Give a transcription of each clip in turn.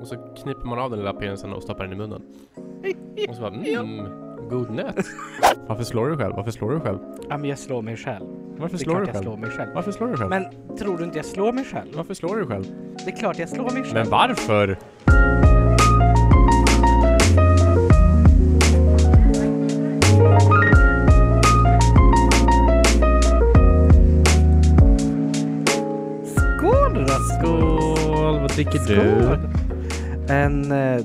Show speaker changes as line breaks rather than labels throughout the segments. Och så kniper man av den lilla penisen och stoppar den i munnen. Och så bara, mm, god nöt. Varför slår du själv? Varför slår du själv?
Ja, men jag slår mig själv.
Varför
Det är
slår
klart
du
jag slår
själv?
mig själv.
Varför slår du själv?
Men tror du inte jag slår mig själv?
Varför slår du själv?
Det är klart jag slår mig själv.
Men varför?
Skål då!
Skål! Vad dricker du?
En eh,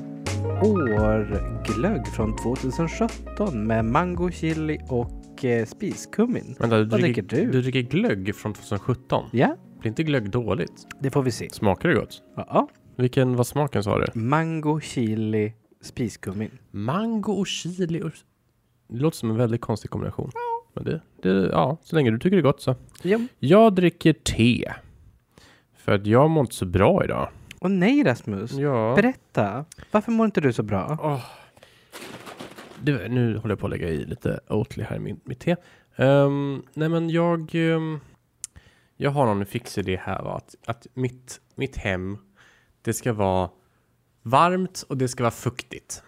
årglögg från 2017 med mango, chili och eh, spiskummin.
Vänta, du
Vad
dricker,
dricker du?
du dricker glögg från 2017.
Ja,
Blir inte glögg dåligt?
det får vi se.
Smakar det gott?
Ja,
Vilken var smaken sa du?
mango, chili, spiskummin.
Mango och chili och... Det låter som en väldigt konstig kombination. Men det, det, ja, så länge du tycker det är gott så.
Ja.
Jag dricker te. För att jag mår inte så bra idag.
Och nej Rasmus,
Ja.
berätta. Varför mår inte du så bra?
Du, nu håller jag på att lägga i lite Oatly här i min- mitt te. Ehm, nej men jag... ehm, jag har någon fixidé här va. Att, att mitt, mitt hem, det ska vara varmt och det ska vara fuktigt.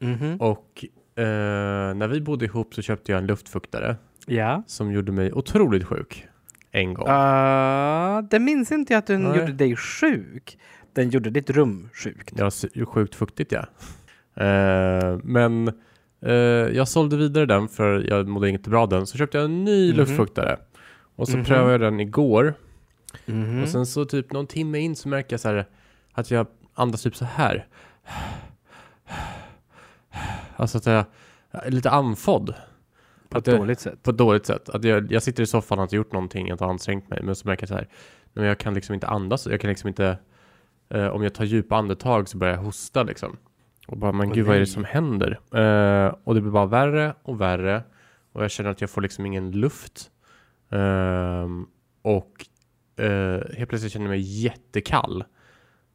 Mhm.
Och eh, när vi bodde ihop så köpte jag en luftfuktare.
Ja.
som gjorde mig otroligt sjuk en gång.
Ah, det minns inte jag att den
Nej.
gjorde dig sjuk. Den gjorde ditt rum sjukt.
Jag var sjukt fuktigt, ja. Eh, men eh, jag sålde vidare den för jag mådde inte bra av den. Så köpte jag en ny
Mhm.
luftfuktare. Och så
Mhm.
prövade jag den igår.
Mhm.
Och sen så typ någon timme in så märker jag så här att jag andas typ så här. Alltså att jag jag är lite andfådd.
På ett
att det-
dåligt sätt.
på ett dåligt sätt. Att jag, jag sitter i soffan och har inte gjort någonting, jag har inte ansträngt mig, men så märker jag så här, men jag kan liksom inte andas, jag kan liksom inte, eh, om jag tar djupa andetag så börjar jag hosta liksom. Och bara, men
Åh,
gud vad är det
nej.
som händer? Eh, och det blir bara värre och värre och jag känner att jag får liksom ingen luft. Ehm, och eh, helt plötsligt känner jag mig jättekall.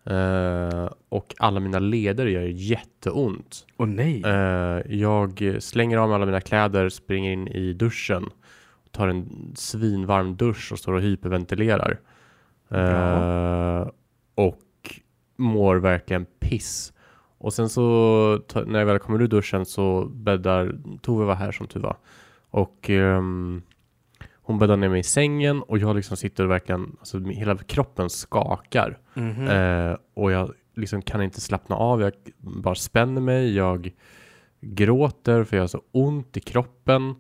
Eh, och alla mina leder gör jätteont.
Och nej.
Eh, jag slänger av mig alla mina kläder, springer in i duschen, tar en svinvarm dusch och står och hyperventilerar. Eh, och mår verkligen piss. Och sen så ta- när jag väl kommer ur duschen så bäddar Tove var här som tur var. Och ehm, hon bäddar ner mig i sängen och jag liksom sitter och verkligen, alltså min- hela kroppen skakar.
Mhm.
Eh, och jag liksom kan inte slappna av. Jag bara spänner mig. Jag gråter för jag har så ont i kroppen.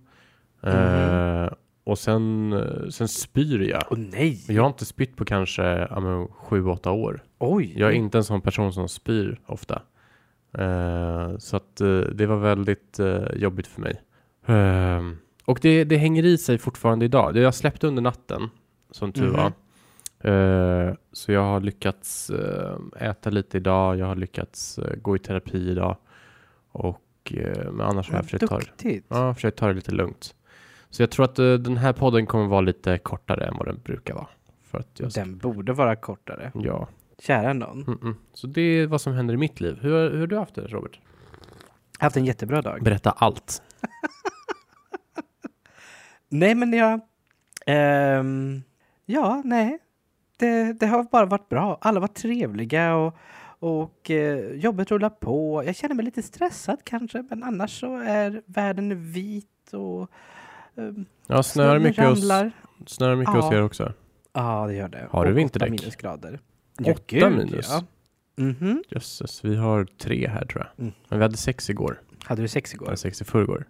Eh, och sen, eh, sen spyr jag.
Åh nej.
Jag har inte spytt på kanske ja, men, sju, åtta år.
Oj.
Jag är inte en sån person som spyr ofta. Eh, så att eh, det var väldigt eh, jobbigt för mig. Ehm, och det, det hänger i sig fortfarande idag. Det jag släppte under natten, som tur var.
Mhm.
Eh, så jag har lyckats eh, äta lite idag. Jag har lyckats eh, gå i terapi idag. Och, eh, men annars har jag
Vad
försökt ta, det-
duktigt.
ja, försökt ta det lite lugnt. Så jag tror att eh, den här podden kommer vara lite kortare än vad den brukar vara. För att jag...
Den borde vara kortare.
Ja.
Kära någon.
Mm-mm. Så det är vad som händer i mitt liv. Hur, har- hur har du haft det Robert?
Haft en jättebra dag.
Berätta allt.
Nej, men jag... ehm, ja, nej. Det, det har bara varit bra. Alla var trevliga och, och eh, jobbet rullar på. Jag känner mig lite stressad kanske, men annars så är världen vit och ehm,
Ja, snöar mycket, hos,
ramlar.
snöar mycket hos
Ja.
er också.
Ja, det gör det.
Har du
Och
vinterdäck?
åtta minusgrader.
Åtta minus?
Ja. Mhm.
Jösses, vi har tre här tror jag.
Mm.
Men vi hade sex igår.
Hade du sex igår?
Eller sex i förrgår.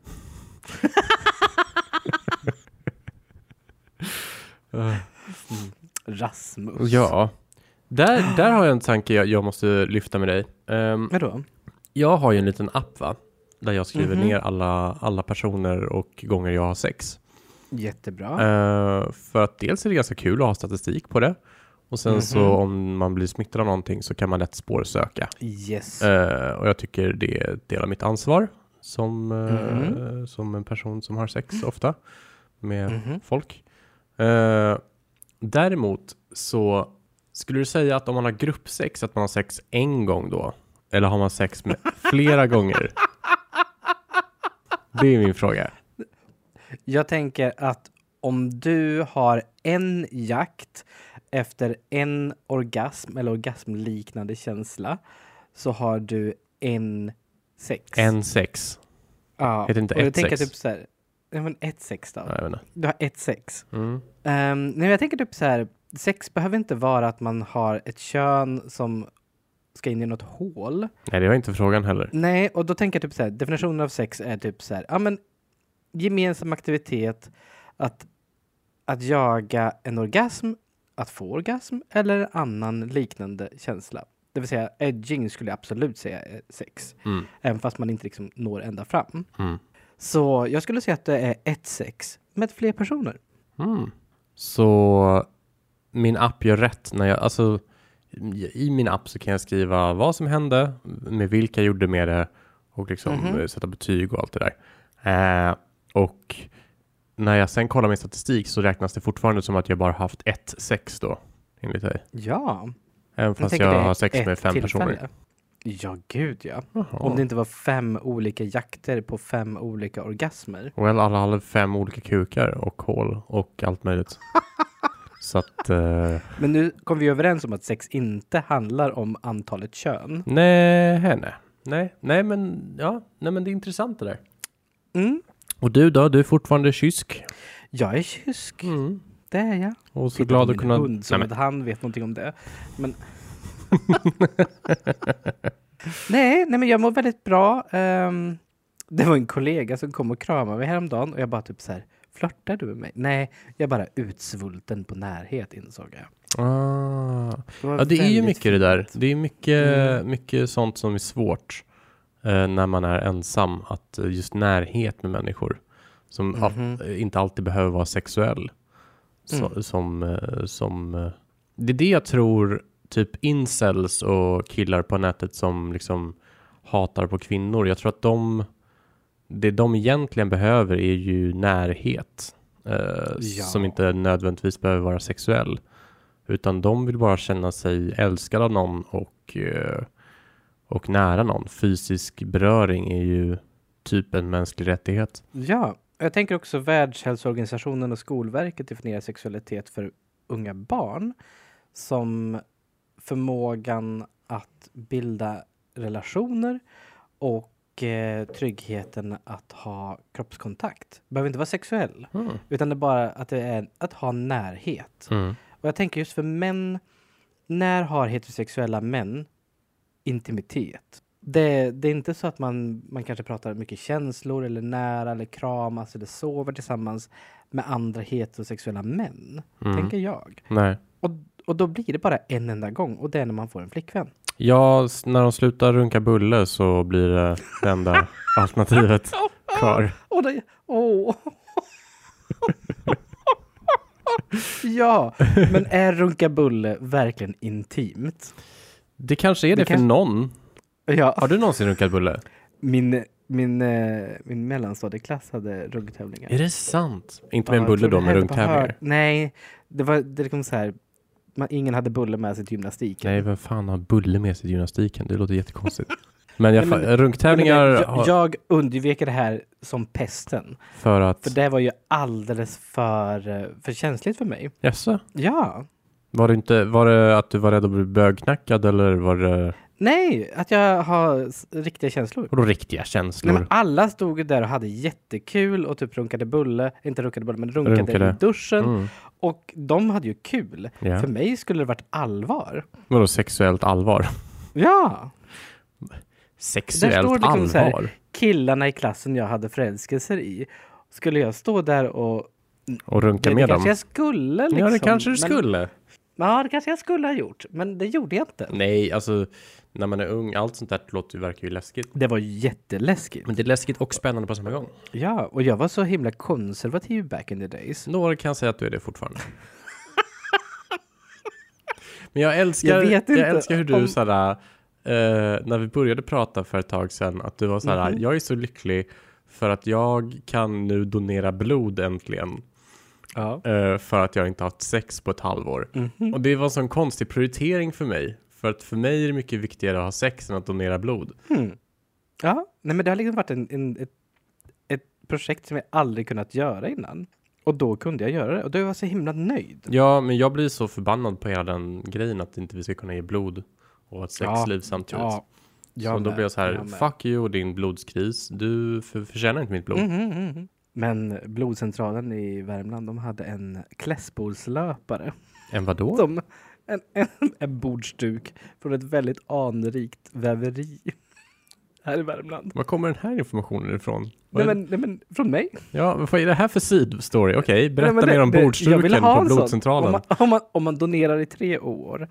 Eh,
Rasmus.
ja, där, där har jag en tanke jag, jag måste lyfta med dig. Ehm,
Vadå?
jag har ju en liten app va? Där jag skriver
Mhm.
ner alla, alla personer och gånger jag har sex.
Jättebra.
Eh, för att dels är det ganska kul att ha statistik på det. Och sen så om man blir smittad av någonting så kan man lätt spårsöka.
yes.
Eh, och jag tycker det är en del av mitt ansvar som, eh,
Mhm.
som en person som har sex ofta med
Mhm.
folk. Eh, däremot så skulle du säga att om man har gruppsex att man har sex en gång då? Eller har man sex med flera gånger? Det är min fråga.
Jag tänker att om du har en jakt efter en orgasm eller orgasmliknande känsla så har du en sex.
En sex.
ja.
heter inte
och jag
ett
tänker
sex.
typ så här, nej men ett sex då.
Nej, jag vet inte.
Du har ett sex.
Mm.
Um, nej, men jag tänker typ så här, sex behöver inte vara att man har ett kön som ska in i något hål.
Nej, det var inte frågan heller.
Nej, och då tänker jag typ så här, definitionen av sex är typ så här, ja men gemensam aktivitet, att, att jaga en orgasm, att få orgasm eller annan liknande känsla. Det vill säga edging skulle jag absolut säga är sex,
Mm.
även fast man inte liksom når ända fram.
Mm.
Så jag skulle säga att det är ett sex med fler personer.
Mm. Så min app gör rätt när jag, alltså i min app så kan jag skriva vad som hände, med vilka jag gjorde med det och liksom
Mhm.
eh, sätta betyg och allt det där. Eh, och när jag sen kollar min statistik så räknas det fortfarande som att jag bara haft ett sex då, enligt dig.
Ja.
Även
Jag
fast
tänker
jag
det är
har sex
ett
med fem personer.
tillfälle. Ja, gud ja. Om
Jaha.
det inte var fem olika jakter på fem olika orgasmer.
Well, alla hade fem olika kukar och hål och allt möjligt. så att, eh,
Men nu kom vi överens om att sex inte handlar om antalet kön.
nej, nej, nej, nej, men ja, nej, men det är intressant det där.
Mm.
Och du då? Du är fortfarande kysk.
Jag är kysk.
Mm.
Det är jag.
Och så
Titta på
glad att
min
kunna...
hund som
Nej, men,
att han vet någonting om det. Men... nej, nej, men jag mår väldigt bra. Ehm, det var en kollega som kom och kramade mig häromdagen och jag bara typ så här, flörtar du med mig? Nej, jag är bara utsvulten på närhet insåg jag.
ah.
var
Ja, det är ju
väldigt
mycket det där.
fint.
Det är mycket,
Mm.
mycket sånt som är svårt eh, när man är ensam. Att eh, just närhet med människor som
Mhm.
all, eh, inte alltid behöver vara sexuell. Så,
Mm.
som, eh, som, eh, det är det jag tror typ incels och killar på nätet som liksom hatar på kvinnor. Jag tror att de, det de egentligen behöver är ju närhet. Eh,
Ja.
Som inte nödvändigtvis behöver vara sexuell. Utan de vill bara känna sig älskade av någon och, eh, och nära någon. Fysisk beröring är ju typ en mänsklig rättighet.
Ja, jag tänker också Världshälsoorganisationen och Skolverket definierar sexualitet för unga barn som förmågan att bilda relationer och eh, tryggheten att ha kroppskontakt. Behöver inte vara sexuell,
Mm.
utan det är bara att, det är att ha närhet.
Mm.
Och jag tänker just för män, när har heterosexuella män intimitet? Det, det är inte så att man, man kanske pratar mycket känslor eller nära eller kramas eller sover tillsammans med andra heterosexuella män,
Mm.
tänker jag.
Nej.
Och, och då blir det bara en enda gång och det är när man får en flickvän.
Ja, s- när de slutar runka bulle så blir det det enda alternativet kvar.
Åh, det, åh. ja, men är runka bulle verkligen intimt?
Det kanske är det,
Det
för
kanske-
någon.
Ja.
Har du någonsin runkat bulle?
Min, min, eh, min mellanstadieklass hade ruggtävlingar.
Är det sant? Inte med en
Ja, jag
bulle
tror
då,
det
med
hände på
runktävlingar?
Hör- Nej, det var det liksom så här. Man, ingen hade bulle med sig till gymnastiken.
Nej, vem fan har bulle med sig i gymnastiken? Det låter jättekonstigt. Men, jag,
Nej, men-
fa- runktävlingar
Jag,
har-
jag, jag undvek det här som pesten.
för att...
För det var ju alldeles för, eh, för känsligt för mig.
Jaså?
Ja.
Var det, inte, var det att du var rädd att bli bögknackad eller var det...
Nej, att jag har s- riktiga känslor.
Vadå riktiga känslor?
Nej, men alla stod ju där och hade jättekul och typ runkade bulle, inte runkade bulle, men runkade,
Runkade.
i duschen.
mm.
Och de hade ju kul.
ja.
För mig skulle det varit allvar.
Vadå sexuellt allvar?
Ja. Där
Sexuellt
står det liksom så här-
allvar?
killarna i klassen jag hade förälskelser i. Skulle jag stå där och...
Och runka
Det, det
med dem?
kanske jag skulle liksom.
ja, det kanske du
Men,
skulle.
ja, det kanske jag skulle ha gjort. Men det gjorde jag inte.
Nej, alltså när man är ung, allt sånt där låter, ju- verkar ju läskigt.
Det var jätteläskigt.
Men det är läskigt och spännande på samma gång.
Ja, och jag var så himla konservativ back in the days.
Några kan säga att du är det fortfarande. Men jag älskar, jag
Jag vet inte
älskar hur du
om-
såhär, eh, när vi började prata för ett tag sedan, att du var såhär,
Mhm.
jag är så lycklig för att jag kan nu donera blod äntligen
Ja.
eh, för att jag inte haft sex på ett halvår.
Mhm.
Och det var en sån konstig prioritering för mig, för att för mig är det mycket viktigare att ha sex än att donera blod.
Hmm. Ja, nej men det har liksom varit en, en, ett, ett projekt som jag aldrig kunnat göra innan. Och då kunde jag göra det och då var jag så himla nöjd.
Ja, men jag blir så förbannad på hela den grejen att inte vi ska kunna ge blod och ha ett sexliv samtidigt.
Ja, jag
så då
med,
blir jag så här,
jag med.
fuck you och din blodskris. Du för, förtjänar inte mitt blod.
Mhm, mhm, mhm. Men blodcentralen i Värmland, de hade en klässbordslöpare.
Än vadå?
De, en, en, en bordsduk från ett väldigt anrikt väveri här i Värmland.
Var kommer den här informationen ifrån?
Nej
Vad är-
men, nej men från mig.
Ja, vad är det här för sidostory? Okej, berätta
nej, men
mer om
det- det- jag
bordsduken
vill ha
på
en sån.
blodcentralen.
Om man, om, man, om man donerar i tre år,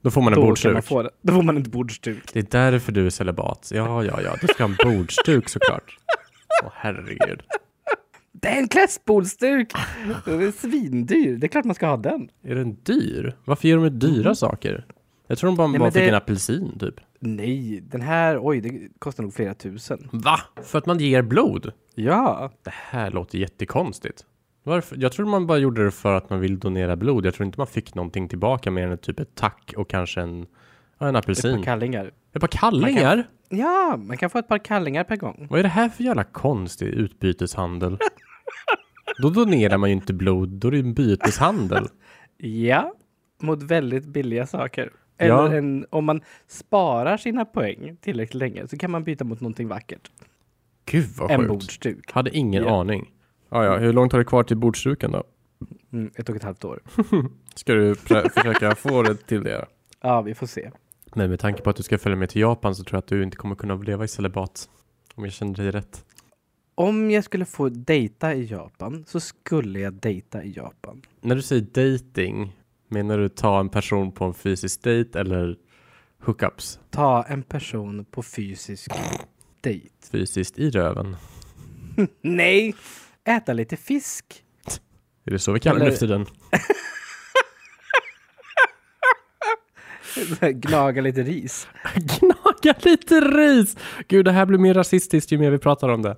Då får man en
då, kan
bordsduk.
man få, det. då får man en bordsduk.
Det är därför du är celibat. Ja, ja, ja. Du ska ha en bordsduk såklart. Åh herregud.
Det är en klässbordsduk! Den är svindyr, det är klart man ska ha den.
Är den dyr? Varför ger de ut dyra saker? Jag tror de bara,
Mm. Nej,
bara
men
fick
det-
en apelsin typ.
Nej, den här, oj, det kostar nog flera tusen.
Va? För att man ger blod?
Ja,
Det här låter jättekonstigt. Varför? Jag tror man bara gjorde det för att man vill donera blod. Jag tror inte man fick någonting tillbaka mer än typ ett tack och kanske en, ja, en
ett par
apelsin.
kallingar.
Ett par kallingar?
Ja, man kan få ett par kallingar per gång.
Vad är det här för jävla konstig utbyteshandel? då donerar man ju inte blod, då är det ju en byteshandel.
Ja, mot väldigt billiga saker. Eller
Ja.
en, om man sparar sina poäng tillräckligt länge så kan man byta mot någonting vackert.
Gud vad
En
sjukt.
bordsduk.
Hade ingen
Ja.
aning. Ja, ja, hur långt har du kvar till bordsduken då?
Mm, ett och ett halvt år.
Ska du prö- försöka få det till det?
Ja, vi får se.
Nej, med tanke på att du ska följa med till Japan så tror jag att du inte kommer kunna leva i celibat. Om jag känner dig rätt.
Om jag skulle få dejta i Japan så skulle jag dejta i Japan.
När du säger dating, menar du ta en person på en fysisk dejt eller hookups?
Ta en person på fysisk dejt.
Fysiskt i röven?
Nej! Äta lite fisk.
Är det så vi kallar det
Eller-
nu för tiden?
Gnaga lite ris.
Gnaga lite ris! Gud, det här blir mer rasistiskt ju mer vi pratar om det.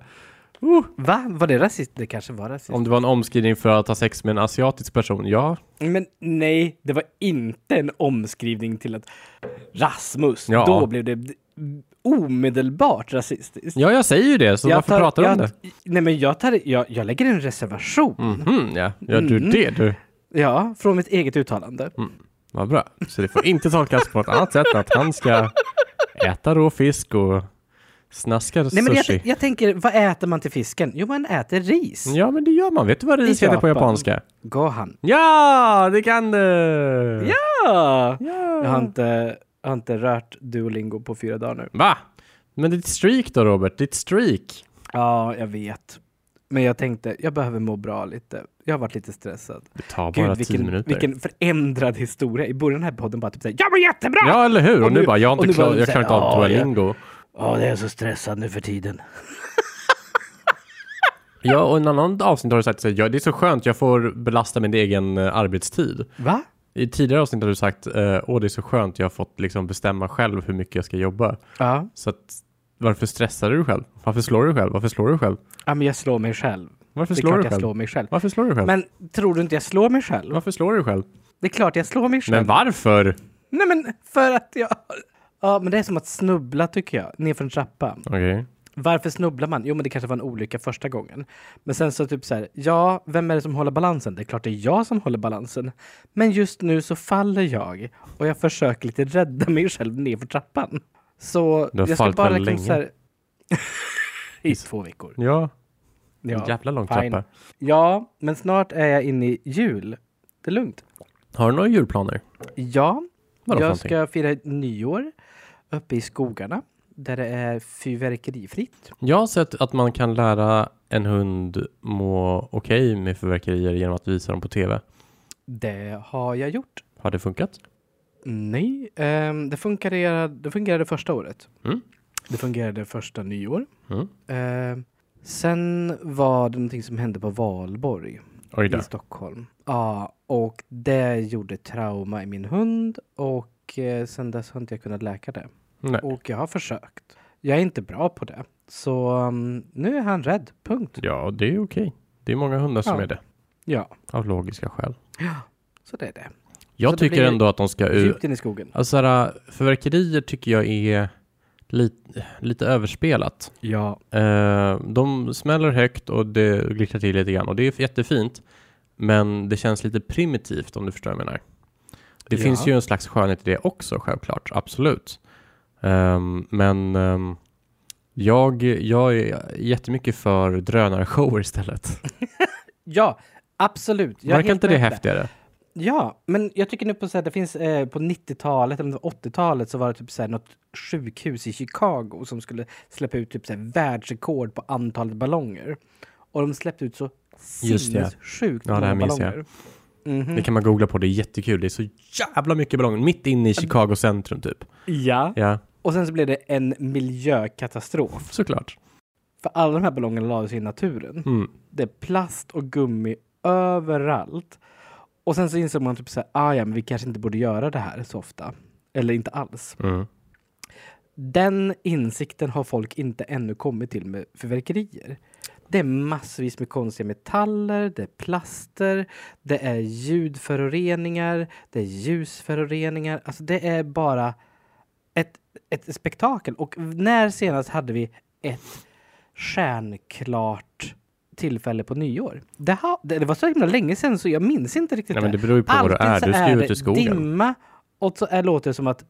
Va? Var det rasistiskt? Det kanske var rasistiskt.
Om det var en omskrivning för att ha sex med en asiatisk person, ja.
Men nej, det var inte en omskrivning till att Rasmus,
Ja.
då blev det d- omedelbart rasistiskt.
Ja, jag säger ju det, så
Jag
varför
tar-
pratar du om
jag,
det?
Nej men jag, tar, jag, jag lägger en reservation.
Mhm, ja. Gör du det du?
Ja, från mitt eget uttalande.
Mm, Vad bra. Så det får inte tolkas på något annat sätt än att han ska äta rå fisk och snaska
Nej, men
sushi. Mm.
jag, jag tänker, vad äter man till fisken? Jo, man äter ris.
Ja, men det gör man. Vet du vad ris
I
heter på
Japan.
japanska?
Gohan.
Ja, det kan du! Ja!
Ja. Jag har inte, jag har inte rört Duolingo på fyra dagar nu.
Va? Men ditt streak då, Robert? Ditt streak?
Ja, jag vet. Men jag tänkte, jag behöver må bra lite. Jag har varit lite stressad.
Det tar bara tio
vilken,
minuter.
vilken förändrad historia. I början av den här podden bara typ såhär, jag mår jättebra!
Ja, eller hur? Och
Och
nu
nu-
bara, jag, har
och
inte
nu
klar,
bara
jag klarar inte av
säger, "Ja,
Duolingo.
Ja, det är så stressad nu för tiden.
Ja, och i en annan avsnitt har du sagt att ja, det är så skönt, jag får belasta min egen eh, arbetstid.
Va?
I tidigare avsnitt har du sagt, eh, åh det är så skönt, jag har fått liksom bestämma själv hur mycket jag ska jobba.
Ja.
Så att, varför stressar du dig själv? Varför slår du dig själv? Varför slår du dig själv?
ja, men jag slår mig själv.
Varför
Det är
slår du
klart
dig
jag
själv?
slår mig själv.
Varför slår du dig själv?
Men tror du inte jag slår mig själv?
Varför slår du dig själv?
Det är klart jag slår mig själv.
Men varför?
Nej men för att jag... Ja men det är som att snubbla tycker jag, nerför en trappa.
Okej.
Varför snubblar man? Jo men det kanske var en olycka första gången. Men sen så typ så här, ja vem är det som håller balansen? Det är klart det är jag som håller balansen. Men just nu så faller jag och jag försöker lite rädda mig själv nerför trappan. Så
Du har
jag ska
fallit
bara
väldigt
liksom så
länge.
här... I två veckor.
Ja,
Ja.
jävla lång
fine.
trappa.
ja, men snart är jag inne i jul. Det är lugnt.
Har du några julplaner?
Ja,
Vadå för
jag
någonting?
ska fira nyår uppe i skogarna där det är fyrverkerifritt.
Jag har sett att man kan lära en hund må okej med fyrverkerier genom att visa dem på tv.
Det har jag gjort.
Har det funkat?
Nej, ehm, det, fungerade, det fungerade första året.
Mm.
Det fungerade första nyår.
Mm.
Ehm, sen var det någonting som hände på Valborg
Oj då.
i Stockholm. Ja, och det gjorde trauma i min hund och eh, sen dess har inte jag kunnat läka det.
Nej.
Och jag har försökt. Jag är inte bra på det. Så mm, nu är han rädd, punkt.
Ja, det är okej. Det är många hundar som
Ja.
är det.
Ja.
Av logiska skäl.
Så det är det.
Jag
Så det
tycker
blir
ändå att de ska ut.
Djupt in i skogen.
Alltså såhär, fyrverkerier tycker jag är lite, lite överspelat.
Ja.
Eh, de smäller högt och det glittrar till lite grann och det är jättefint. Men det känns lite primitivt om du förstår vad jag menar. Det
Ja.
finns ju en slags skönhet i det också självklart, absolut. Ehm, men ehm, jag, jag är jättemycket för drönarshower istället.
Ja, absolut. Jag är
Verkar
helt
inte det
med på Mm.
häftigare?
Ja, men jag tycker nu på så här, det finns eh, på 90-talet, eller om det var 80-talet, så var det typ så här, något sjukhus i Chicago som skulle släppa ut typ så här, världsrekord på antalet ballonger. Och de släppte ut så
Just det.
sinnessjukt
Ja, det här
många
minns jag.
ballonger. Mhm.
Det kan man googla på, det är jättekul. Det är så jävla mycket ballonger, mitt inne i Chicago centrum typ.
Ja.
Ja,
Och sen så blev det en miljökatastrof.
såklart.
För alla de här ballongerna lades i naturen.
Mm.
Det är plast och gummi överallt. Och sen så insåg man typ så här, ah, ja, men vi kanske inte borde göra det här så ofta. Eller inte alls.
Mm.
Den insikten har folk inte ännu kommit till med fyrverkerier. Det är massvis med konstiga metaller, det är plaster, det är ljudföroreningar, det är ljusföroreningar. Alltså det är bara ett, ett spektakel. Och när senast hade vi ett stjärnklart tillfälle på nyår? Det, ha, det, det var så himla länge sedan så jag minns inte riktigt
Nej, men
det.
det beror ju på vad du är.
Alltid
Du
så
ska ju
är
ut
det
i skogen.
dimma och så är, låter det som att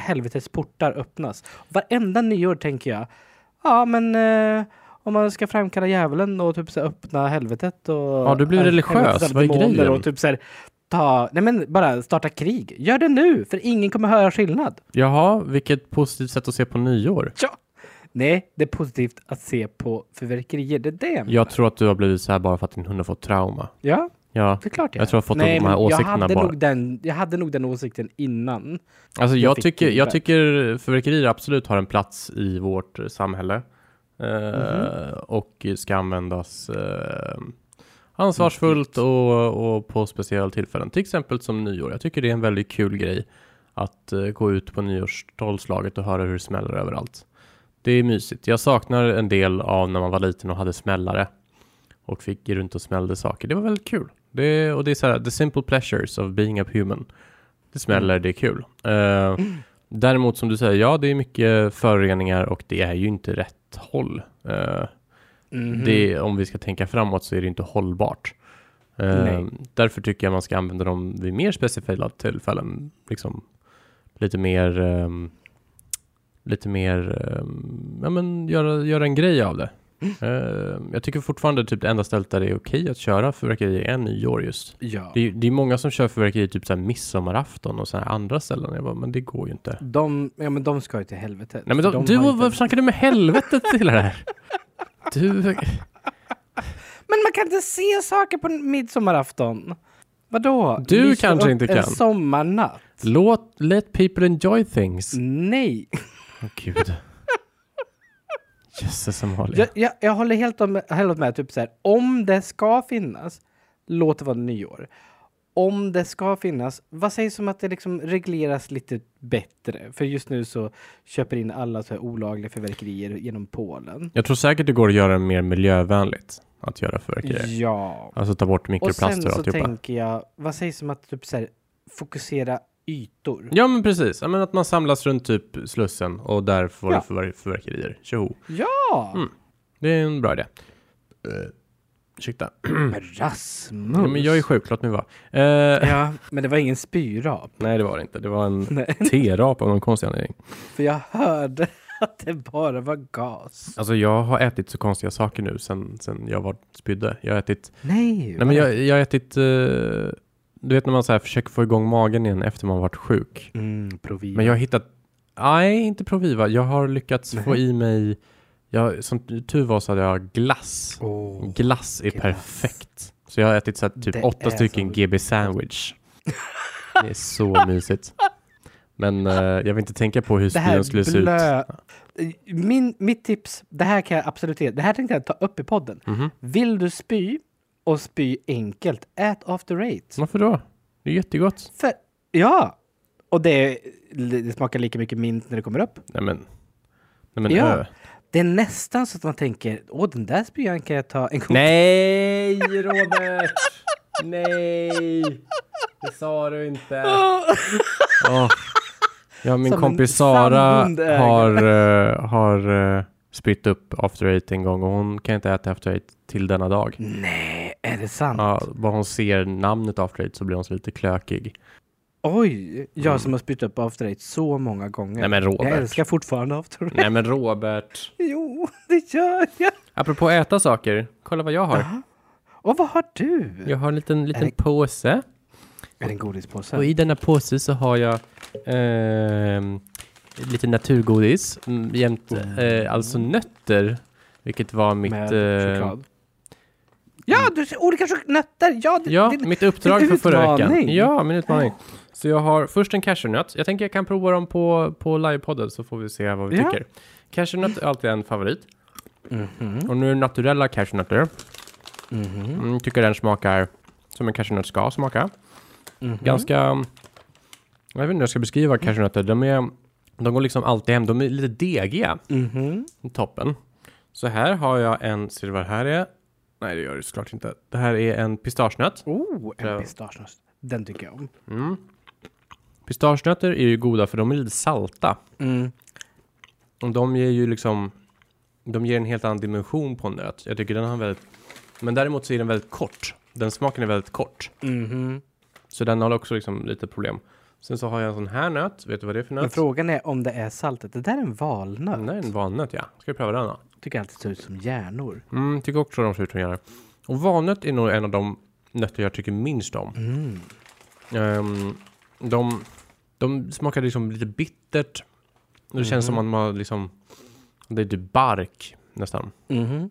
helvetets portar öppnas. Varenda nyår tänker jag, ja men eh, om man ska framkalla djävulen och typ så här, öppna helvetet och...
Ja, du blir
eh,
religiös.
helvetets
Vad är
demoner
grejen?
Och typ så här, ta, nej men bara starta krig. Gör det nu, för ingen kommer höra skillnad.
Jaha, vilket positivt sätt att se på nyår.
Nej, det är positivt att se på fyrverkerier. Det är det jag menar.
Jag tror att du har blivit så här bara för att din hund har fått trauma.
Ja,
Ja,
det är klart
Jag tror jag har fått de här
men
åsikterna
jag hade
bara.
Nog den, jag hade nog den åsikten innan.
alltså
Jag
jag
fick
tycker, jag
feedback.
tycker fyrverkerier absolut har en plats i vårt samhälle. Eh,
Mhm.
Och ska användas eh, ansvarsfullt och, och på speciella tillfällen. Till exempel som nyår. Jag tycker det är en väldigt kul grej att eh, gå ut på nyårstolvslaget och höra hur det smäller överallt. Det är mysigt. Jag saknar en del av när man var liten och hade smällare och fick gå runt och smällde saker. Det var väldigt kul. Det, och det är så här, the simple pleasures of being a human. Det smäller, det är kul. Eh, Däremot som du säger, ja det är mycket föroreningar och det är ju inte rätt håll. Eh,
Mhm.
det, om vi ska tänka framåt så är det inte hållbart. Eh,
Nej.
därför tycker jag man ska använda dem vid mer specifika tillfällen. Liksom, lite mer, ehm, lite mer, ehm, ja men göra, göra en grej av det.
Mm.
Eh, jag tycker fortfarande typ det enda stället där det är okej att köra fyrverkerier är nyår just.
Ja.
Det är, det är många som kör fyrverkerier typ så här midsommarafton och så här andra ställen. Jag bara, men det går ju inte.
De, ja, men de ska ju till helvetet.
Nej men
Så
då,
de
du,
har ju
och- varför snackar du med helvetet till det här? Du,
Men man kan inte se saker på midsommarafton. Vadå?
Du
Lysa
kanske
upp
inte
En
kan.
sommarnatt?
låt, let people enjoy things.
Mm. Nej.
Åh gud. Jösses Amalia.
Jag, jag, jag håller helt, om, helt med. Typ så här, om det ska finnas, låt det vara nyår. Om det ska finnas, vad sägs om att det liksom regleras lite bättre? För just nu så köper in alla så här olagliga fyrverkerier genom Polen.
Jag tror säkert det går att göra mer miljövänligt att göra fyrverkerier.
Ja.
Alltså ta bort
Och sen
mikroplaster och
så
alltihopa.
tänker jag, vad sägs om att typ så här, fokusera ytor?
Ja men precis, ja, men att man samlas runt typ Slussen och där får
Ja.
du fyrver- fyrverkerier. Tjoho.
Ja!
Det är en bra idé. Uh, ursäkta.
Rasmus.
Ja, men jag är sjuk, låt mig vara. Eh,
Ja, men det var ingen spyrap.
Nej det var det inte, det var en
Nej,
T-rap av någon konstig anledning.
för jag hörde att det bara var gas.
Alltså jag har ätit så konstiga saker nu sen, sen jag var spydde. Jag har ätit,
Nej.
nej men jag, jag har ätit, eh, du vet när man så här försöker få igång magen igen efter man varit sjuk.
Mm, Proviva.
Men jag har hittat, nej inte Proviva, jag har lyckats få
Nej.
i mig, jag, som tur var så hade jag glass.
Åh.
glass är
glass.
perfekt. Så jag har ätit så här, typ
Det
åtta
är
stycken
så-
GB sandwich. det är så mysigt. Men eh, jag vill inte tänka på hur
Det här
spyan skulle se ut.
blö... Min, mitt tips, det här kan jag absolut ge. Det här tänkte jag ta upp i podden.
Mhm.
Vill du spy och spy enkelt, ät after eight.
Varför då? Det är jättegott.
För, ja! Och det, det smakar lika mycket mint när det kommer upp.
Nej men, nej men
Ja.
ö.
Det är nästan så att man tänker, åh den där spyan kan jag ta en gång
Nej, Robert! Nej! Det sa du inte. Åh, Ja, min
Som
kompis
en
Sara
sand äger.
har, eh, har eh, spytt upp After Eight en gång och hon kan inte äta After Eight till denna dag.
Mm. Nej, är det sant?
Ja, bara hon ser namnet After Eight så blir hon så lite klökig.
Oj,
Mm.
jag som har spytt upp After Eight så många gånger.
Nej men
jag
Robert.
älskar fortfarande After Eight.
Nej men Robert.
Jo, det gör jag.
Apropå äta saker, kolla vad jag har.
Och vad har du?
Jag har en liten, liten
Är det-
påse.
Är det en godispåse?
Och i denna påse så har jag ehm, lite naturgodis mm, jämt, eh, alltså nötter. Vilket var mitt...
Med
eh,
choklad? Ja, du ser olika chok- nötter! Ja, det,
Ja,
det,
mitt uppdrag för förra veckan.
utmaning.
Ja, min utmaning. Så jag har först en cashewnöt. Jag tänker jag kan prova dem på, på livepodden så får vi se vad vi
Ja.
tycker. Cashewnöt är alltid en favorit.
Mhm,
Och nu är det naturella cashewnötter.
mhm,
Mm, tycker den smakar som en cashewnöt ska smaka.
mhm.
Ganska... Jag vet inte hur jag ska beskriva cashewnötter. De, är, de går liksom alltid hem. De är lite degiga
Mhm.
i toppen. Så här har jag en, ser du vad det här är? Nej, det gör det såklart inte. Det här är en pistagenöt.
Oh,
Ja.
en pistagenöt. Den tycker jag om.
Mm. Pistagenötter är ju goda för de är lite salta. Och de ger ju liksom... De ger en helt annan dimension på en nöt. Jag tycker den har en väldigt... Men däremot så är den väldigt kort. Den smaken är väldigt kort.
Mhm.
Så den har också liksom lite problem. Sen så har jag en sån här nöt. Vet du vad det är för
Men
nöt?
frågan är om det är saltet. Det där är en valnöt.
Den där är en valnöt, ja. Ska vi pröva den då?
Tycker alltid ser ut som hjärnor.
Mm, tycker också de ser ut som hjärnor. Och valnöt är nog en av de nötter jag tycker minst om.
Mm.
Ehm, de, de smakar liksom lite bittert. Det
Mm.
känns som att man har liksom... Det är typ bark nästan.
Mhm.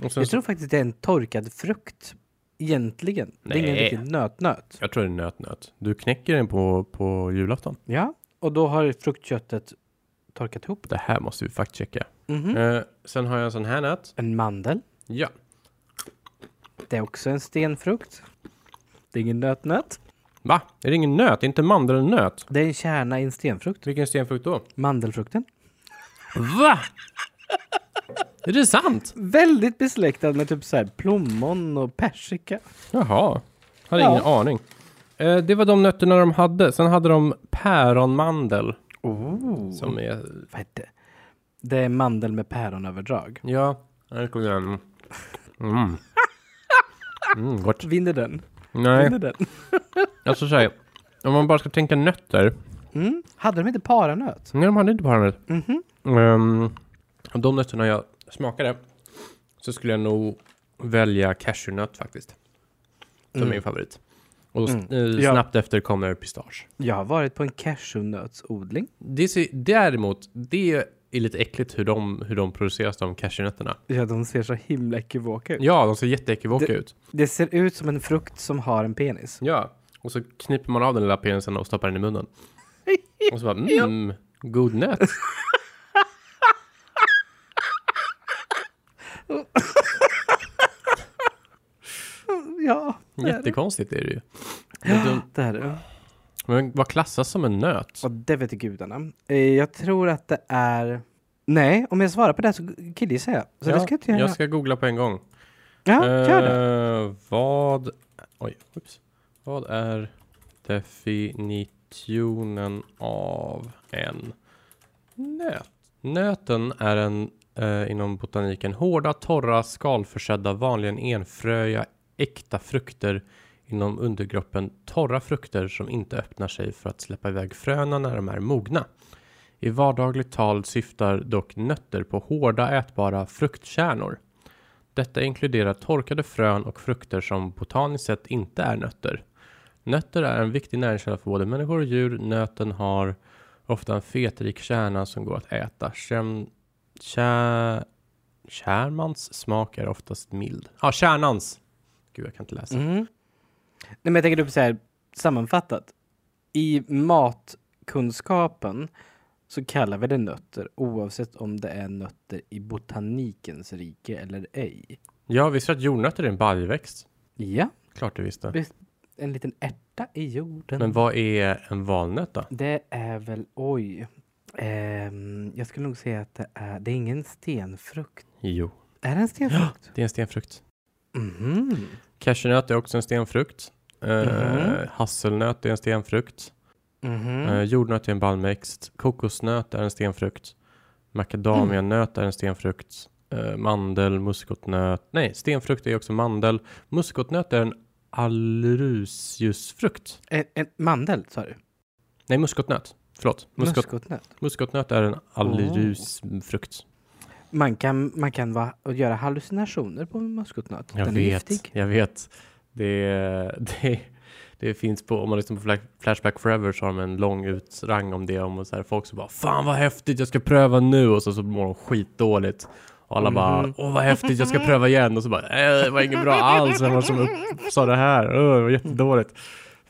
Och sen,
Jag tror faktiskt det är en torkad frukt. Egentligen. Det är
Nej.
ingen riktig nötnöt.
jag tror det är nötnöt. Du knäcker den på, på julafton.
Ja. Och då har fruktköttet torkat ihop.
Det här måste vi faktchecka.
Mhm.
Eh, sen har jag en sån här nöt.
En mandel.
Ja.
Det är också en stenfrukt. Det är ingen nötnöt.
Va? Är det ingen nöt? Inte mandelnöt?
Det är en kärna i en stenfrukt.
Vilken stenfrukt då?
Mandelfrukten.
Va? är det sant?
Väldigt besläktad med typ så här plommon och persika.
Jaha. Hade
Ja.
ingen aning. Eh, det var de nötterna de hade. Sen hade de päronmandel.
Oh.
Som är...
Vad heter det? Det är mandel med päronöverdrag.
Ja. Här kommer den. Mm. Mm, gott.
Vinner den?
Nej,
Vinner den?
alltså såhär. Om man bara ska tänka nötter.
Mm. Hade de inte paranöt?
Nej, de hade inte paranöt.
Mhm.
Um, och de nötterna jag smakade så skulle jag nog välja cashewnöt faktiskt. Som
Mm.
min favorit. Och
Mm.
eh,
Ja.
snabbt efter kommer pistage.
Jag har varit på en cashewnötsodling.
Det ser, däremot, det är lite äckligt hur de, hur de produceras de cashewnötterna.
Ja, de ser så himla ekivoka ut.
Ja, de ser jätteekivoka
Det-
ut.
Det ser ut som en frukt som har en penis.
Ja, och så kniper man av den lilla penisen och stoppar den i munnen. Och så bara, mm, god nöt.
Ja,
Jättekonstigt är det ju. Men de-
ja det är det.
Men vad klassas som en nöt?
Och det vet gudarna. Eh, Jag tror att det är... Nej, om jag svarar på det här så killgissar jag. Så det ska jag inte göra.
jag ska googla på en gång.
Ja, gör det.
Eh, vad... Oj, ups. Vad är definitionen av en nöt? Nöten är en, eh, inom botaniken, hårda, torra, skalförsedda, vanligen enfröiga, äkta frukter inom undergruppen torra frukter som inte öppnar sig för att släppa iväg fröna när de är mogna. I vardagligt tal syftar dock nötter på hårda ätbara fruktkärnor. Detta inkluderar torkade frön och frukter som botaniskt sett inte är nötter. Nötter är en viktig näringskälla för både människor och djur. Nöten har ofta en fetrik kärna som går att äta. Kärn, kär, kärnans smak är oftast mild. Ja, ah, kärnans! Gud, jag kan inte läsa.
Mm. Nej, men jag tänker typ så här, sammanfattat. I matkunskapen så kallar vi det nötter oavsett om det är nötter i botanikens rike eller ej.
Ja, visste du att jordnötter är en baljväxt?
Ja,
Klart du visste.
Visst. en liten ärta i jorden.
Men vad är en valnöt då?
Det är väl, oj. Ehm, jag skulle nog säga att det är, det är ingen stenfrukt.
Jo,
Är det en stenfrukt?
det är en stenfrukt.
Mhm.
Cashewnöt är också en stenfrukt. Eh,
Mhm.
Hasselnöt är en stenfrukt.
Mhm.
Eh, jordnöt är en baljväxt. Kokosnöt är en stenfrukt. Macadamianöt är en stenfrukt. Eh, mandel, muskotnöt. Nej, stenfrukt är också mandel. Muskotnöt är en allrusiusfrukt.
En, en mandel sa du?
Nej, muskotnöt. Förlåt. Muskot,
Muskotnöt.
muskotnöt är en allrusfrukt.
Man kan, man kan va, och göra hallucinationer på muskotnöt.
Jag
Den är
vet,
giftig.
jag vet. Det, det, det finns på, om man lyssnar på Fla- Flashback Forever så har de en lång utrang om det. Om och så här, folk som bara Fan vad häftigt, jag ska pröva nu. Och så, så mår de skitdåligt. Och alla bara
Mhm.
Åh vad häftigt, jag ska pröva igen. Och så bara äh, Det var inget bra alls. Vem var det som upp- sa det här? Öh, det var jättedåligt.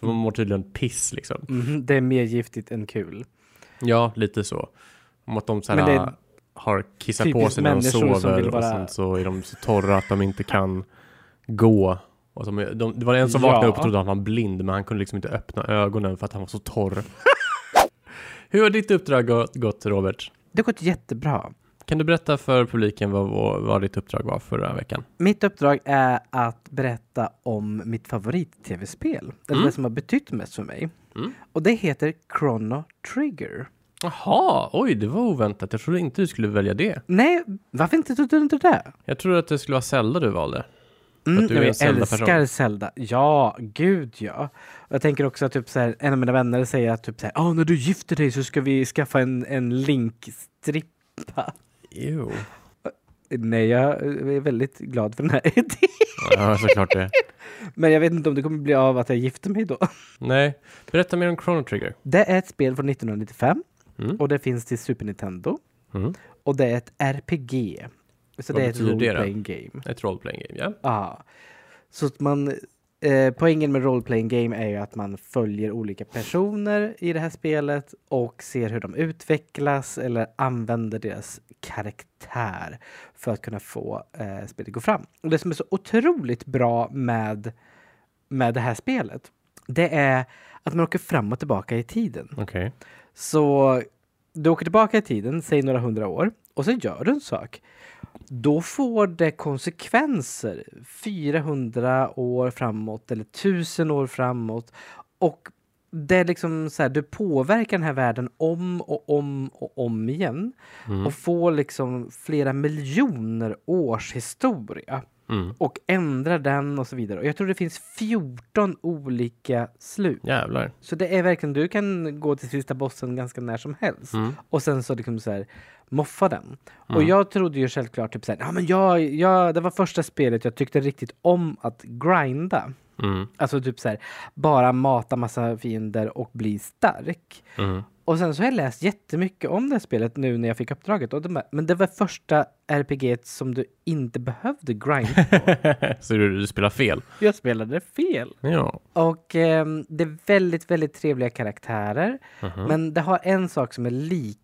För man mår tydligen piss liksom.
Mhm, det är mer giftigt än kul.
Ja, lite så. Om att de så här,
Men det är
har kissat på
typiskt
sig när de
människor som
sover
vill
och
vara-
sen så är de så torra att de inte kan gå. Och de, är- de, det var en som vaknade
Ja.
upp och trodde han var blind men han kunde liksom inte öppna ögonen för att han var så torr. Hur har ditt uppdrag gå- gått Robert?
Det har gått jättebra.
Kan du berätta för publiken vad, vad, vad ditt uppdrag var förra veckan?
Mitt uppdrag är att berätta om mitt favorit-tv-spel. Eller
Mm.
det som har betytt mest för mig.
Mm.
Och det heter Chrono Trigger.
Jaha, oj det var oväntat. Jag trodde inte du skulle välja det.
Nej, varför inte tog du inte det?
Jag trodde att det skulle vara Zelda du valde.
Mm,
att du är en
jag
Zelda-person.
älskar Zelda. Ja, gud ja. Och jag tänker också att typ så här, en av mina vänner säger att typ så här, "Ah, när du gifter dig så ska vi skaffa en, en Link-strippa.
Jo.
Nej, jag är väldigt glad för den här idén.
Ja, såklart det.
Men jag vet inte om det kommer bli av att jag gifter mig då.
Nej, berätta mer om Chrono Trigger.
Det är ett spel från 1995
Mm.
och det finns till Super Nintendo.
Mm.
Och det är ett RPG. Så
Vad
det är ett
betyder det då?
role-playing game.
Ett roleplaying game, ja.
Ja. Så att man... Eh, poängen med role-playing game är ju att man följer olika personer i det här spelet och ser hur de utvecklas eller använder deras karaktär för att kunna få eh, spelet att gå fram. Och det som är så otroligt bra med, med det här spelet, det är att man åker fram och tillbaka i tiden.
Okej.
Så du åker tillbaka i tiden, säg några hundra år, och så gör du en sak. Då får det konsekvenser 400 år framåt eller 1000 år framåt. Och det är liksom så här, du påverkar den här världen om och om och om igen. Och får liksom flera miljoner års historia.
Mm.
Och ändrar den och så vidare. Och jag tror det finns 14 olika slut.
Jävlar.
Så det är verkligen, du kan gå till sista bossen ganska när som helst. Och sen så liksom så här, moffa den. Och jag trodde ju självklart typ så här, ja men jag, jag, det var första spelet jag tyckte riktigt om att grinda.
Mm.
Alltså typ så här, bara mata massa fiender och bli stark.
Mm.
Och sen så har jag läst jättemycket om det här spelet nu när jag fick uppdraget. Och det, bara- men det var första RPG som du inte behövde grinda.
så du, du spelar fel?
jag spelade fel.
Ja.
Och ehm, det är väldigt, väldigt trevliga karaktärer. Men det har en sak som är lik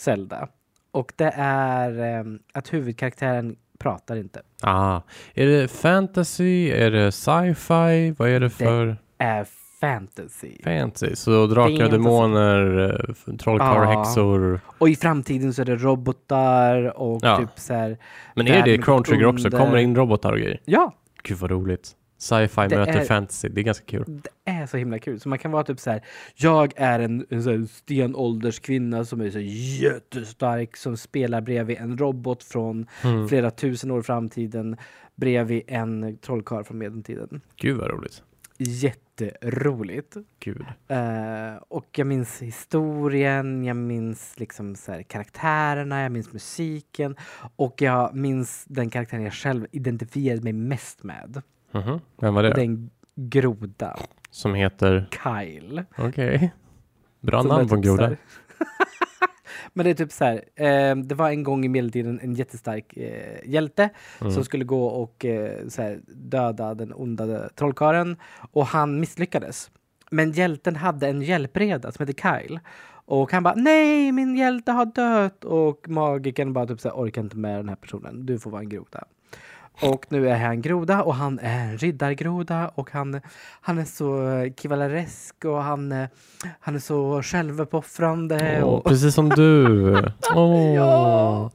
Zelda. Och det är ehm, att huvudkaraktären pratar inte.
Ah. Är det fantasy? Är det sci-fi? Vad är det för
Är fantasy.
fantasy? Så drakar och
Fantasy.
demoner, eh, f- trollkarlar,
Ja.
häxor.
Och i framtiden så är det robotar och
Ja.
typ så här.
Men är det det
Världen
Chrono Trigger också?
under-
Kommer det in robotar och grejer?
Ja,
Gud vad roligt. Sci-fi
Det
möter
är-
fantasy. Det är ganska kul.
det är så himla kul. Så man kan vara typ så här. Jag är en, en så här stenålderskvinna som är så jättestark som spelar bredvid en robot från flera tusen år i framtiden bredvid en trollkarl från medeltiden.
Gud vad roligt.
Jätteroligt.
Gud.
Eh, och jag minns historien, jag minns liksom så här karaktärerna, jag minns musiken och jag minns den karaktären jag själv identifierade mig mest med.
Mhm. Vem var det? då?
Den groda,
Som heter...
Kyle.
Okej. Bra
Som är
namn på en
typ så
groda.
här- Men det är typ så här. Eh, det var en gång i medeltiden en jättestark eh, hjälte som skulle gå och eh, så här, döda den onda trollkaren och han misslyckades. Men hjälten hade en hjälpreda som hette Kyle. Och han bara nej, min hjälte har dött. Och magiken bara typ så här, orkar inte med den här personen. Du får vara en groda. Och nu är han groda och han är en riddargroda och han, han är så eh, kavaleresk och han, eh, han är så självuppoffrande.
Åh,
Och,
precis som du. Åh.
Ja.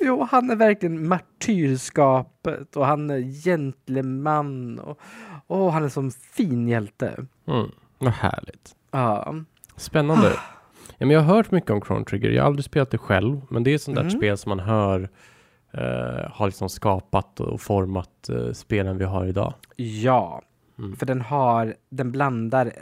jo, han är verkligen martyrskapet och han är gentleman och, och han är som fin hjälte.
Mm. Vad härligt.
Ja.
Spännande.
Ah.
Ja, men jag har hört mycket om Chrono Trigger. Jag har aldrig spelat det själv, men det är ett sånt där
Mm.
spel som man hör eh, har liksom skapat och format eh, spelen vi har idag.
Ja,
Mm.
för den har, den blandar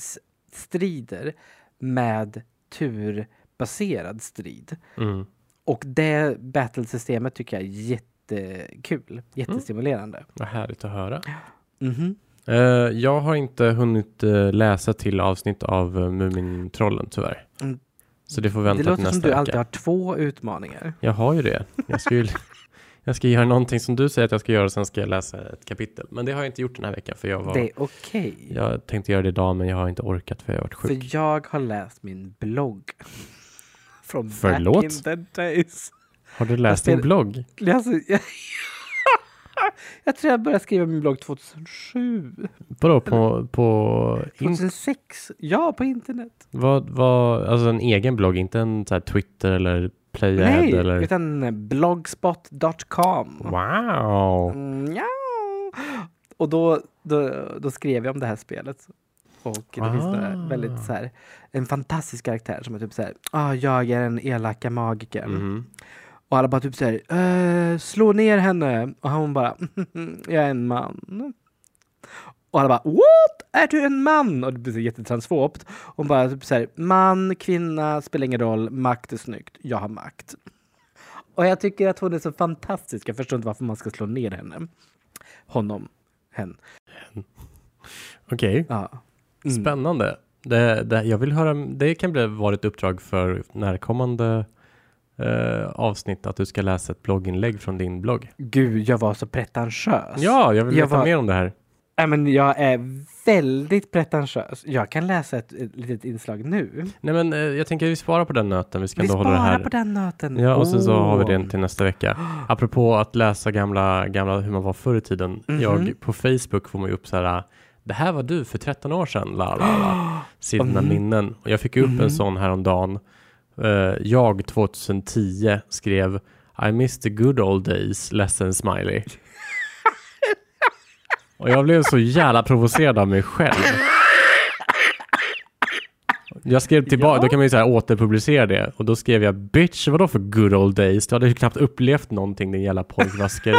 realtidsstrider med turbaserad strid.
Mm.
Och det battlesystemet tycker jag är
Mm.
jättekul, jättestimulerande.
Vad härligt att höra.
Mhm.
Eh, jag har inte hunnit eh, läsa till avsnitt av uh, Mumintrollen tyvärr.
Mm.
Så det får
Det
vänta till
låter som
nästa
du
vecka.
alltid har två utmaningar.
Jag har ju det. Jag ska, ju, jag ska göra någonting som du säger att jag ska göra och sen ska jag läsa ett kapitel. Men det har jag inte gjort den här veckan för jag var...
Det är okej.
Jag tänkte göra det idag men jag har inte orkat för jag har varit sjuk.
För jag har läst min blogg. Från
Förlåt?
back in the days.
Har du läst din
spel-
blogg?
Alltså, jag, jag tror jag började skriva min blogg 2007.
Vadå på... på in,
2006? Ja, på internet.
vad, vad, alltså en egen blogg, inte en så här Twitter eller Playad
Nej,
eller...
utan blogspot.com.
Wow!
Mm, ja. Och då, då, då skrev jag om det här spelet. Och det finns några
Ah.
väldigt så här, en fantastisk karaktär som är typ så här, ah, jag är den elaka magikern.
Mhm.
Och alla bara typ så här, eh, slå ner henne. Och han bara, jag är en man. Och alla bara, what? Är du en man? Och det blir så jättetransfobt. Hon bara typ så här, man, kvinna, spelar ingen roll, makt är snyggt, jag har makt. Och jag tycker att hon är så fantastisk, jag förstår inte varför man ska slå ner henne. Honom, hen.
Okej,
Ja. Mm.
spännande. Det, det, jag vill höra, det kan bli vara ett uppdrag för närkommande eh, avsnitt att du ska läsa ett blogginlägg från din blogg.
Gud, jag var så pretentiös.
Ja, jag vill
Alltså, Jag
veta
var-
mer om det här.
Nej, men jag är väldigt pretentiös. Jag kan läsa ett, ett litet inslag nu.
Nej, men eh, jag tänker vi sparar på den nöten. Vi ska
vi
ändå hålla
sparar
det här.
på den nöten.
Ja, och sen så har vi
Åh.
den till nästa vecka. Apropå att läsa gamla, gamla hur man var förr i tiden.
Mhm.
Jag på Facebook får man ju upp så här. Det här var du för 13 år sedan. La, la, la. Sidorna
Mhm.
minnen. Och jag fick upp en sån häromdagen. Uh, jag 2010 skrev I miss the good old days, ledsen smiley. och jag blev så jävla provocerad av mig själv. Jag skrev tillbaka,
Ja.
då kan man ju så här återpublicera det. Och då skrev jag bitch, vadå för good old days? Du hade ju knappt upplevt någonting din jävla pojkvasker.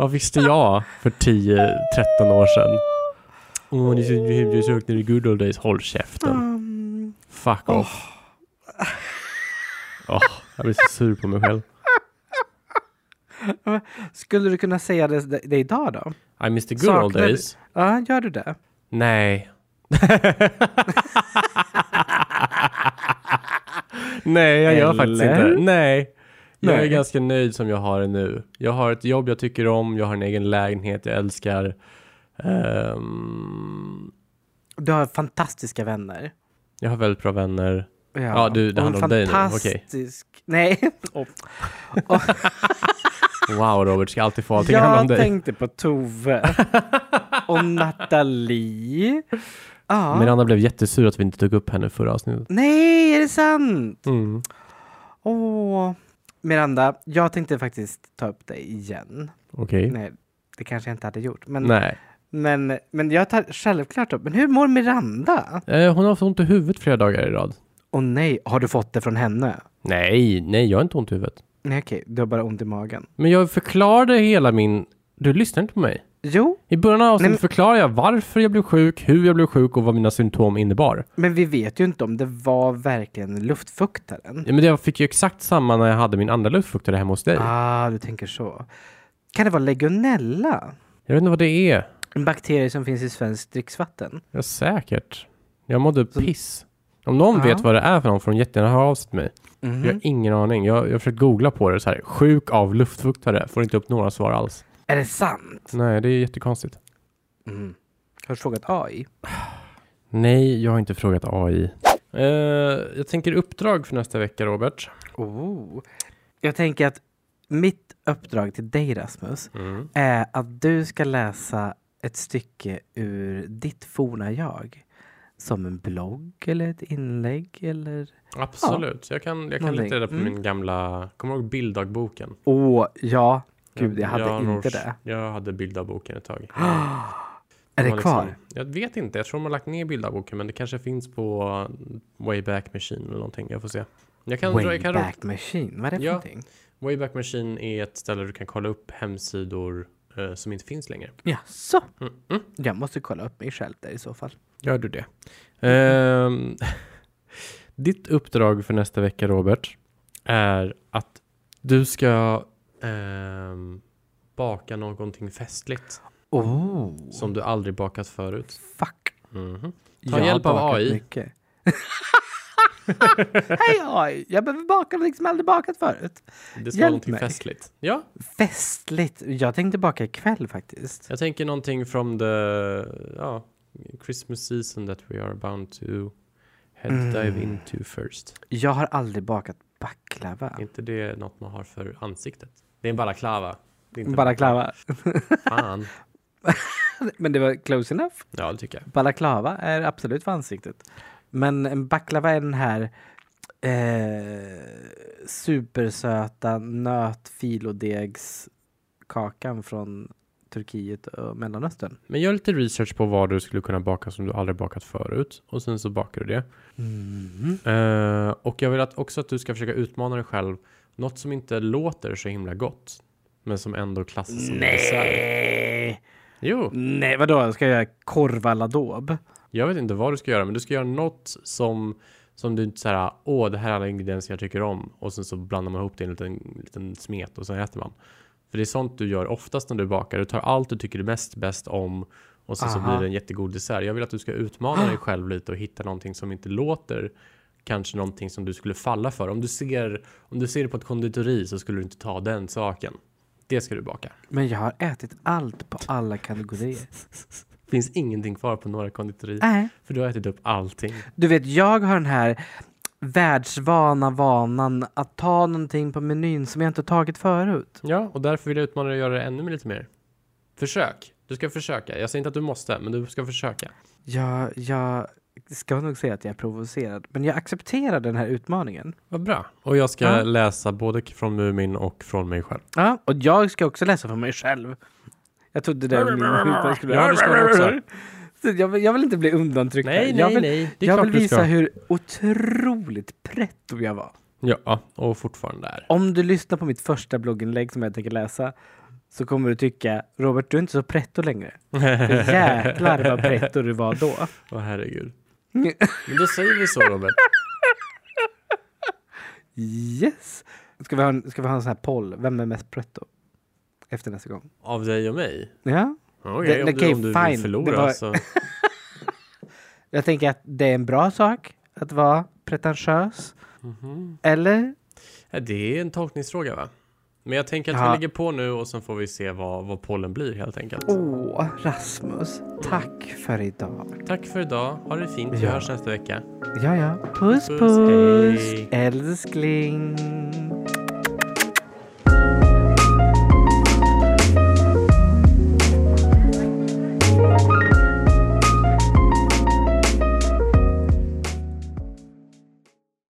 Vad visste jag för 10-13 år sedan? Åh, oh, det är så himla sjukt när det är good old days. Håll käften.
Mm.
Fuck off. Åh, jag blir så sur på mig själv.
Skulle du kunna säga det, det idag då?
I miss the good
Saknar
old
du-
days.
Ja, gör du det?
Nej. Nej, jag gör faktiskt
Eller?
inte. Nej. Jag är
Nej.
ganska nöjd som jag har det nu. Jag har ett jobb jag tycker om, jag har en egen lägenhet jag älskar. Ehm,
Du har fantastiska vänner.
jag har väldigt bra vänner. Ja, du, det
Och en
handlar om dig nu.
Fantastisk. Nej. Och,
Wow, Robert, ska alltid få allting handla om
jag
dig.
tänkte på Tove. och Nathalie. Ja.
Men Anna blev jättesur att vi inte tog upp henne förra avsnittet.
Nej, är det sant?
Mm.
Åh. Miranda, jag tänkte faktiskt ta upp dig igen.
Okej.
Nej, det kanske jag inte hade gjort. Men,
Mm. Nej.
men, men jag tar självklart upp. Men hur mår Miranda?
Eh, hon har haft ont i huvudet flera dagar i rad.
Och nej, har du fått det från henne?
Nej, nej, jag har inte ont i huvudet.
Nej okej, du har bara ont i magen.
Men jag förklarade hela min... Du lyssnar inte på mig.
Jo,
I början av avsnittet
Nej, men-
förklarade jag varför jag blev sjuk, hur jag blev sjuk och vad mina symptom innebar.
men vi vet ju inte om det var verkligen luftfuktaren.
Ja, men jag fick ju exakt samma när jag hade min andra luftfuktare hemma hos dig.
Ah, du tänker så. Kan det vara legionella?
Jag vet inte vad det är.
En bakterie som finns i svenskt dricksvatten?
Ja, säkert. Jag mådde piss. Om någon
Ja.
vet vad det är för någon får de jättegärna höra av sig till mig.
Mhm.
Jag har ingen aning. Jag, jag har försökt googla på det så här. Sjuk av luftfuktare. Får inte upp några svar alls.
Är det sant?
Nej, det är jättekonstigt.
Mm. Har du frågat AI?
Nej, jag har inte frågat AI. Eh, jag tänker uppdrag för nästa vecka, Robert.
Oh. Jag tänker att mitt uppdrag till dig Rasmus
Mm.
är Eh, att du ska läsa ett stycke ur ditt forna jag. Som en blogg eller ett inlägg eller
Absolut. Jag kan, jag kan
Någonting.
leta reda på
Mm.
min gamla... Kommer du ihåg bilddagboken?
Åh, ja. Gud, jag hade
har nog-
inte det.
Jag hade bilddagboken ett tag.
Är det
Man
kvar?
Liksom, jag vet inte. Jag tror de har lagt ner bildarboken, men det kanske finns på um, Wayback Machine eller någonting. Jag får se. Jag kan, dra- jag kan dra-
Wayback Machine, vad är det för
Ja.
någonting?
Wayback Machine är ett ställe du kan kolla upp hemsidor eh, som inte finns längre.
Jaså?
Mm, mm.
Jag måste kolla upp mig själv där i så fall.
Gör du det? Ehm, ditt uppdrag för nästa vecka, Robert, är att du ska ehm, baka någonting festligt
Oh,
som du aldrig bakat förut.
fuck.
Mhm.
Jag
Ta
har
hjälp av
bakat
AI.
mycket. Hej AI! Jag behöver baka något som jag aldrig bakat förut.
Det ska
Hjälp
vara någonting
mig.
festligt. Ja,
Festligt. Jag tänkte baka ikväll faktiskt.
jag tänker någonting from the ja, Christmas season that we are bound to head dive
Mm.
into first.
Jag har aldrig bakat baklava.
Är inte det något man har för ansiktet? Det är en balaklava. Det är inte
Balaklava.
Fan.
Men det var close enough.
Ja, det tycker jag.
Balaklava är absolut för ansiktet. Men en baklava är den här eh, supersöta nötfilodegskakan från Turkiet och Mellanöstern.
Men gör lite research på vad du skulle kunna baka som du aldrig bakat förut. Och sen så bakar du det.
Mm.
Eh, och jag vill att också att du ska försöka utmana dig själv. Något som inte låter så himla gott. Men som ändå klassas som dessert.
Nej!
Jo,
Nej, vadå? Ska jag göra korv à la daube?
jag vet inte vad du ska göra. Men du ska göra något som, som du inte så här. Åh, det här är alla ingredienser jag tycker om. Och sen så blandar man ihop det i en liten, liten smet och sen äter man. För det är sånt du gör oftast när du bakar. Du tar allt du tycker är mest bäst om. Och sen så
Aha.
blir det en jättegod dessert. Jag vill att du ska utmana dig själv lite och hitta någonting som inte låter. Kanske någonting som du skulle falla för. Om du ser, om du ser det på ett konditori så skulle du inte ta den saken. Det ska du baka.
Men jag har ätit allt på alla kategorier.
Finns ingenting kvar på några konditorier.
Nej.
För du har ätit upp allting.
Du vet, jag har den här världsvana vanan att ta någonting på menyn som jag inte tagit förut.
Ja, och därför vill jag utmana dig att göra det ännu lite mer. Försök. Du ska försöka. Jag säger inte att du måste, men du ska försöka.
Jag, jag ska nog säga att jag är provocerad, men jag accepterar den här utmaningen.
Vad bra. Och jag ska
Ja.
läsa både från Mumin och från mig själv.
Ja, och jag ska också läsa för mig själv. Jag trodde det var min utan skulle...
Ja, det ska du också.
Så Jag vill, jag vill inte bli undantryckt. här.
Nej,
jag
nej,
vill,
nej. Det är
Jag
klart
vill
du
visa
ska.
hur otroligt pretto jag var.
Ja, och fortfarande är.
Om du lyssnar på mitt första blogginlägg som jag tänker läsa så kommer du tycka Robert, du är inte så pretto längre. För jäklar vad pretto du var då.
Åh herregud. Men då säger vi så Robert.
Yes! Ska vi ha en, ska vi ha en sån här poll? Vem är mest pretto? Efter nästa gång.
Av dig och mig?
Ja.
Okej,
Det-
om,
det kan
du,
ju
om du
fine.
vill förlora
Det var-
så.
Jag tänker att det är en bra sak att vara pretentiös. Mm-hmm.
Mhm.
Eller?
Ja, Det är en tolkningsfråga va? Men jag tänker att
Ja.
vi lägger på nu och sen får vi se vad, vad pollen blir helt enkelt.
Åh, Rasmus. Tack för idag.
Tack för idag. Ha det fint. Vi
Ja.
hörs nästa vecka.
Ja, ja. Puss,
Puss,
puss.
hej.
Älskling.